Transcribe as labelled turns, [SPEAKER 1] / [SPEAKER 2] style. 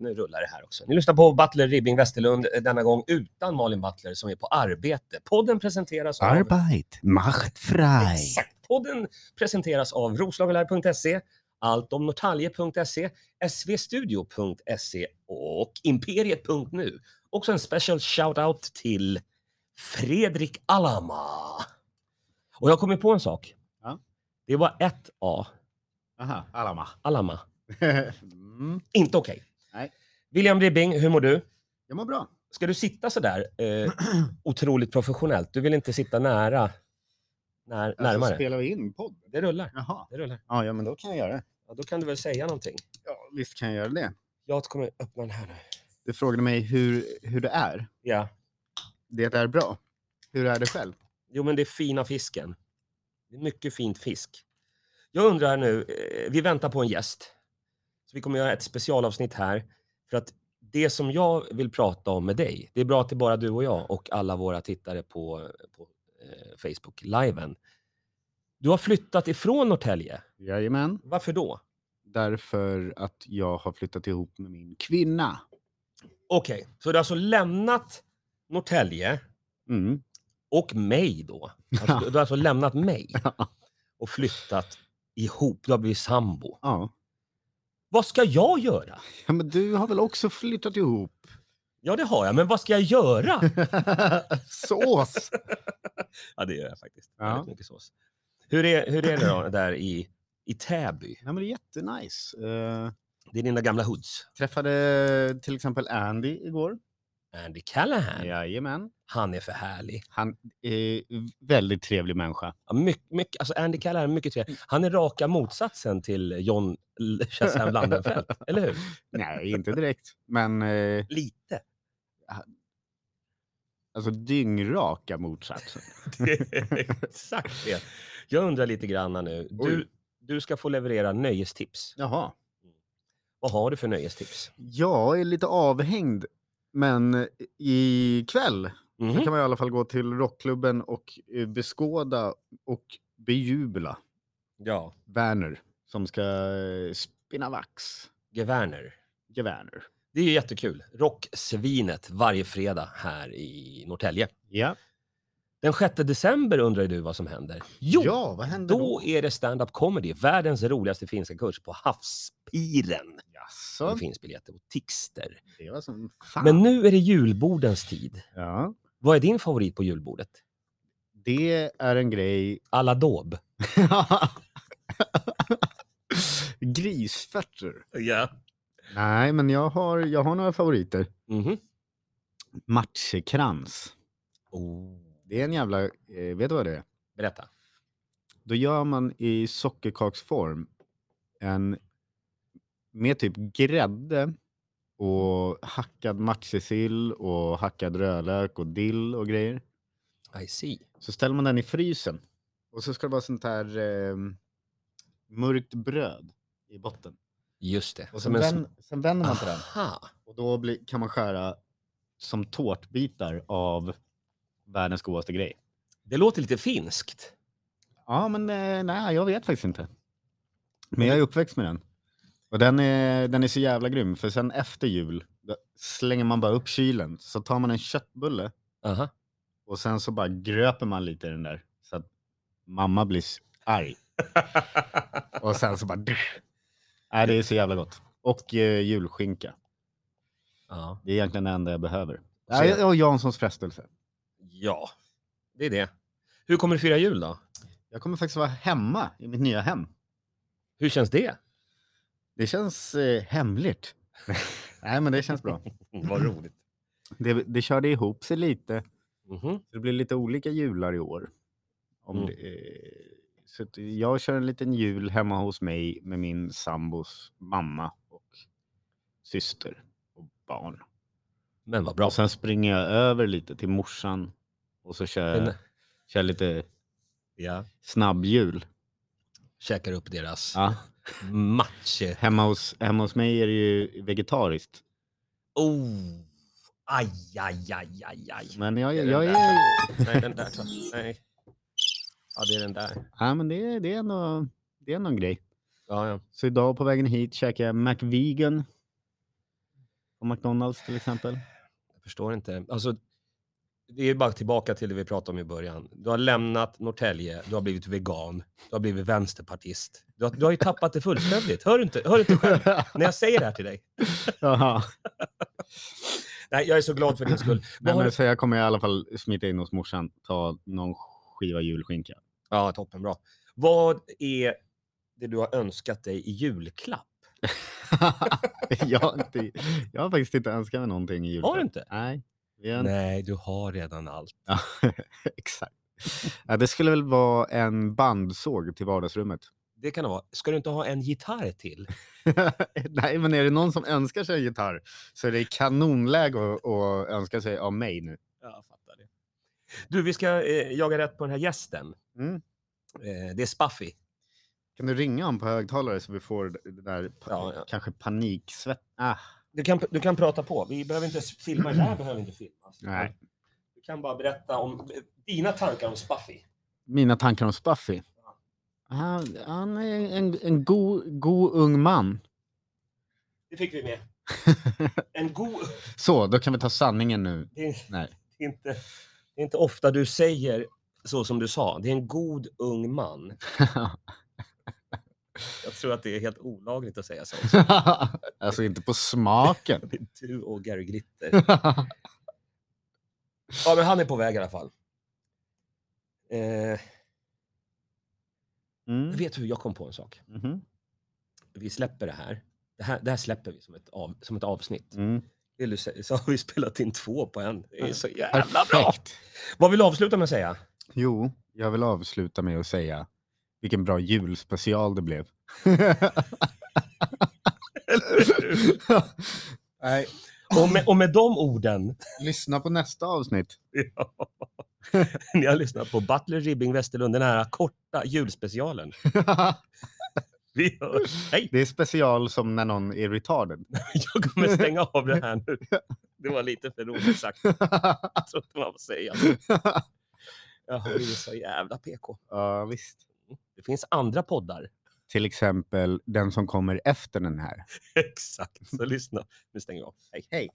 [SPEAKER 1] nu rullar det här också. Ni lyssnar på Butler Ribbing Westerlund, eh, denna gång utan Malin Butler som är på arbete. Podden presenteras av...
[SPEAKER 2] Arbeit macht frei.
[SPEAKER 1] Exakt. Podden presenteras av roslagenlive.se, alltomnortalje.se, svstudio.se och imperiet.nu. Också en special shout-out till Fredrik Alama. Och jag kommer på en sak.
[SPEAKER 3] Ja.
[SPEAKER 1] Det var ett A,
[SPEAKER 3] Aha, Alama.
[SPEAKER 1] Alama.
[SPEAKER 3] mm.
[SPEAKER 1] Inte okej.
[SPEAKER 3] Nej.
[SPEAKER 1] William Ribbing, hur mår du?
[SPEAKER 3] Jag mår bra.
[SPEAKER 1] Ska du sitta sådär eh, otroligt professionellt? Du vill inte sitta nära, när,
[SPEAKER 3] Alltså,
[SPEAKER 1] närmare?
[SPEAKER 3] spelar vi in podd?
[SPEAKER 1] Det rullar.
[SPEAKER 3] Jaha.
[SPEAKER 1] Det rullar.
[SPEAKER 3] Ja, ja, men då kan jag göra det.
[SPEAKER 1] Ja, då kan du väl säga någonting.
[SPEAKER 3] Ja, visst kan jag göra det.
[SPEAKER 1] Jag kommer öppna den här nu.
[SPEAKER 3] Du frågade mig hur, hur det är.
[SPEAKER 1] Ja.
[SPEAKER 3] Det är bra. Hur är det själv?
[SPEAKER 1] Jo, men det är fina fisken. Det är mycket fint fisk. Jag undrar nu, eh, vi väntar på en gäst. Så vi kommer göra ett specialavsnitt här. För att det som jag vill prata om med dig, det är bra att det är bara du och jag och alla våra tittare på, på eh, Facebook-liven. Du har flyttat ifrån Norrtälje.
[SPEAKER 3] Jajamän.
[SPEAKER 1] Varför då?
[SPEAKER 3] Därför att jag har flyttat ihop med min kvinna.
[SPEAKER 1] Okej, så du har alltså lämnat Norrtälje
[SPEAKER 3] Mm.
[SPEAKER 1] och mig då. Alltså, du, du har alltså lämnat mig och flyttat ihop. Du har blivit sambo.
[SPEAKER 3] Ja.
[SPEAKER 1] Vad ska jag göra?
[SPEAKER 3] ja, men du har väl också flyttat ihop?
[SPEAKER 1] Ja, det har jag, men vad ska jag göra?
[SPEAKER 3] Sås!
[SPEAKER 1] ja, det gör jag faktiskt.
[SPEAKER 3] Ja.
[SPEAKER 1] Väldigt mycket sås. Hur är, hur är det då där i, i Täby?
[SPEAKER 3] Ja, men det är jättenice. Eh,
[SPEAKER 1] Det är dina gamla hoods.
[SPEAKER 3] träffade till exempel Andy igår.
[SPEAKER 1] Andy
[SPEAKER 3] Mm.
[SPEAKER 1] Callahan,
[SPEAKER 3] Jajamän.
[SPEAKER 1] han är för härlig.
[SPEAKER 3] Han är väldigt trevlig människa.
[SPEAKER 1] Ja, mycket, mycket, alltså Andy Callahan är mycket trevlig. Han är raka motsatsen till John L- Chazelle Landenfelt, eller hur?
[SPEAKER 3] Nej, inte direkt. Men eh,
[SPEAKER 1] Lite.
[SPEAKER 3] alltså dyngraka motsatsen.
[SPEAKER 1] Det är Exakt det. Jag undrar lite granna nu. Du,
[SPEAKER 3] Oj.
[SPEAKER 1] du ska få leverera nöjestips.
[SPEAKER 3] Jaha.
[SPEAKER 1] Vad har du för nöjestips?
[SPEAKER 3] Jag är lite avhängd. Men ikväll
[SPEAKER 1] Mhm.
[SPEAKER 3] Då kan man i alla fall gå till rockklubben och eh, beskåda och bejubla
[SPEAKER 1] Ja,
[SPEAKER 3] Werner som ska eh, spinna vax.
[SPEAKER 1] Geverner.
[SPEAKER 3] Ja, Werner.
[SPEAKER 1] Det är ju jättekul. Rocksvinet varje fredag här i Norrtälje.
[SPEAKER 3] Ja.
[SPEAKER 1] Den 6 december undrar ju du vad som händer. Jo,
[SPEAKER 3] ja, vad händer då?
[SPEAKER 1] då är det stand-up comedy, världens roligaste finska kurs på Havspiren.
[SPEAKER 3] Jaså,
[SPEAKER 1] Det finns biljetter på Tixter.
[SPEAKER 3] det var som fan.
[SPEAKER 1] Men nu är det julbordens tid.
[SPEAKER 3] Ja,
[SPEAKER 1] Vad är din favorit på julbordet?
[SPEAKER 3] det är en grej.
[SPEAKER 1] Aladob.
[SPEAKER 3] Grisfötter.
[SPEAKER 1] Ja.
[SPEAKER 3] Nej, men jag har, jag har några favoriter.
[SPEAKER 1] Mhm.
[SPEAKER 3] Matchekrans.
[SPEAKER 1] Oh.
[SPEAKER 3] Det är en jävla, eh, vet du vad det är?
[SPEAKER 1] Berätta.
[SPEAKER 3] Då gör man i sockerkaksform en med typ grädde och hackad matjessill och hackad rödlök och dill och grejer.
[SPEAKER 1] I see.
[SPEAKER 3] Så ställer man den i frysen och så ska det vara sånt här eh, mörkt bröd i botten.
[SPEAKER 1] Just det.
[SPEAKER 3] Och sen,
[SPEAKER 1] Som en sm- Ah.
[SPEAKER 3] vän, sen vänder man på den
[SPEAKER 1] Aha.
[SPEAKER 3] och då blir, kan man skära som tårtbitar av världens godaste grej.
[SPEAKER 1] Det låter lite finskt.
[SPEAKER 3] Ja, men eh, nej, jag vet faktiskt inte. Men jag är uppväxt med den. Och den är, den är så jävla grym, för sen efter jul då slänger man bara upp kylen, så tar man en köttbulle
[SPEAKER 1] Aha.
[SPEAKER 3] och sen så bara gröper man lite i den där så att mamma blir s- arg. Och sen så bara... Dusch. Nej, det är så jävla gott. Och eh, julskinka.
[SPEAKER 1] ja.
[SPEAKER 3] Det är egentligen det enda jag behöver. Nej, och Janssons frestelse.
[SPEAKER 1] ja, det är det. Hur kommer du fira jul då?
[SPEAKER 3] Jag kommer faktiskt vara hemma i mitt nya hem.
[SPEAKER 1] Hur känns det?
[SPEAKER 3] Det känns eh, hemligt. Nej, men det känns bra.
[SPEAKER 1] Vad roligt.
[SPEAKER 3] Det, det körde ihop sig lite.
[SPEAKER 1] Mhm.
[SPEAKER 3] Det blir lite olika jular i år. Om
[SPEAKER 1] Mm.
[SPEAKER 3] det, eh, så att jag kör en liten jul hemma hos mig med min sambos mamma och syster och barn.
[SPEAKER 1] Men vad bra.
[SPEAKER 3] Och sen springer jag över lite till morsan och så kör jag
[SPEAKER 1] Men-
[SPEAKER 3] kör lite
[SPEAKER 1] Ja.
[SPEAKER 3] snabbjul.
[SPEAKER 1] Käkar upp deras
[SPEAKER 3] Ja.
[SPEAKER 1] matche.
[SPEAKER 3] Hemma, hos, hemma hos mig är det ju vegetariskt.
[SPEAKER 1] Oh. Aj, aj, aj, aj, aj.
[SPEAKER 3] Men jag,
[SPEAKER 1] Det är
[SPEAKER 3] jag,
[SPEAKER 1] den
[SPEAKER 3] är...
[SPEAKER 1] där. Nej, den där. tror jag. Nej. Ja, det är den där.
[SPEAKER 3] Ja, men det, är- det, är ändå, det är ändå en grej.
[SPEAKER 1] Ja, ja.
[SPEAKER 3] Så idag på vägen hit käkade jag McVegan. På McDonalds till exempel.
[SPEAKER 1] Jag förstår inte. Alltså, det är ju bara tillbaka till det vi pratade om i början. Du har lämnat Norrtälje, du har blivit vegan, du har blivit vänsterpartist. Du har, du har ju tappat det fullständigt. Hör du inte, hör du inte själv när jag säger det här till dig?
[SPEAKER 3] Jaha.
[SPEAKER 1] Nej, jag är så glad för din skull. Vad
[SPEAKER 3] Nej,
[SPEAKER 1] har
[SPEAKER 3] men
[SPEAKER 1] du-
[SPEAKER 3] så jag kommer i alla fall smita in hos morsan, ta någon skiva julskinka.
[SPEAKER 1] Ja, toppen bra. Vad är det du har önskat dig i julklapp?
[SPEAKER 3] jag, har inte, jag har faktiskt inte önskat mig någonting i julklapp.
[SPEAKER 1] Har du inte?
[SPEAKER 3] Nej. Vi har inte.
[SPEAKER 1] Nej, du har redan allt.
[SPEAKER 3] Ja, exakt. Ja, det skulle väl vara en bandsåg till vardagsrummet.
[SPEAKER 1] Det kan det vara. Ska du inte ha en gitarr till?
[SPEAKER 3] Nej, men är det någon som önskar sig en gitarr så är det kanonläge att, att önska sig av mig nu.
[SPEAKER 1] Jag fattar det. Du, vi ska eh, jaga rätt på den här gästen.
[SPEAKER 3] Mm.
[SPEAKER 1] Eh, det är Spaffy.
[SPEAKER 3] Kan du ringa honom på högtalare så vi får det där pa-
[SPEAKER 1] Ja, ja.
[SPEAKER 3] kanske paniksvett? Ah,
[SPEAKER 1] Du kan, du kan prata på. Vi behöver inte s- filma. Det här behöver inte filmas.
[SPEAKER 3] Nej.
[SPEAKER 1] Du kan bara berätta om eh, dina tankar om Spaffy.
[SPEAKER 3] mina tankar om Spaffy. Han, han är en, en god, god ung man.
[SPEAKER 1] Det fick vi med. En god...
[SPEAKER 3] Så, då kan vi ta sanningen nu.
[SPEAKER 1] Det är,
[SPEAKER 3] Nej.
[SPEAKER 1] det är inte, det är inte ofta du säger så som du sa. Det är en god ung man. Jag tror att det är helt olagligt att säga så.
[SPEAKER 3] alltså inte på smaken.
[SPEAKER 1] Det är Du och Gary Glitter. Ja, men han är på väg i alla fall. Eh,
[SPEAKER 3] mm.
[SPEAKER 1] vet du hur jag kom på en sak?
[SPEAKER 3] Mhm.
[SPEAKER 1] Vi släpper det här. Det här, det här släpper vi som ett, av, som ett avsnitt.
[SPEAKER 3] Mm.
[SPEAKER 1] Vill du se, så har vi spelat in två på en. Det är så jävla bra!
[SPEAKER 3] Perfekt.
[SPEAKER 1] Vad vill du avsluta med att säga?
[SPEAKER 3] Jo, jag vill avsluta med att säga vilken bra julspecial det blev. Nej,
[SPEAKER 1] Och med, och med de orden,
[SPEAKER 3] lyssna på nästa avsnitt.
[SPEAKER 1] ja, ni har lyssnat på Butler Ribbing Westerlund, den här korta julspecialen. Vi hörs! Hej!
[SPEAKER 3] det är special som när någon är retarded.
[SPEAKER 1] Jag kommer stänga av det här nu. Det var lite för roligt sagt. Jag tror inte man får säga. Jag har blivit så jävla PK.
[SPEAKER 3] Ja, visst.
[SPEAKER 1] Det finns andra poddar.
[SPEAKER 3] Till exempel den som kommer efter den här.
[SPEAKER 1] Exakt, så lyssna. Nu stänger vi av. Hej.
[SPEAKER 3] Hej.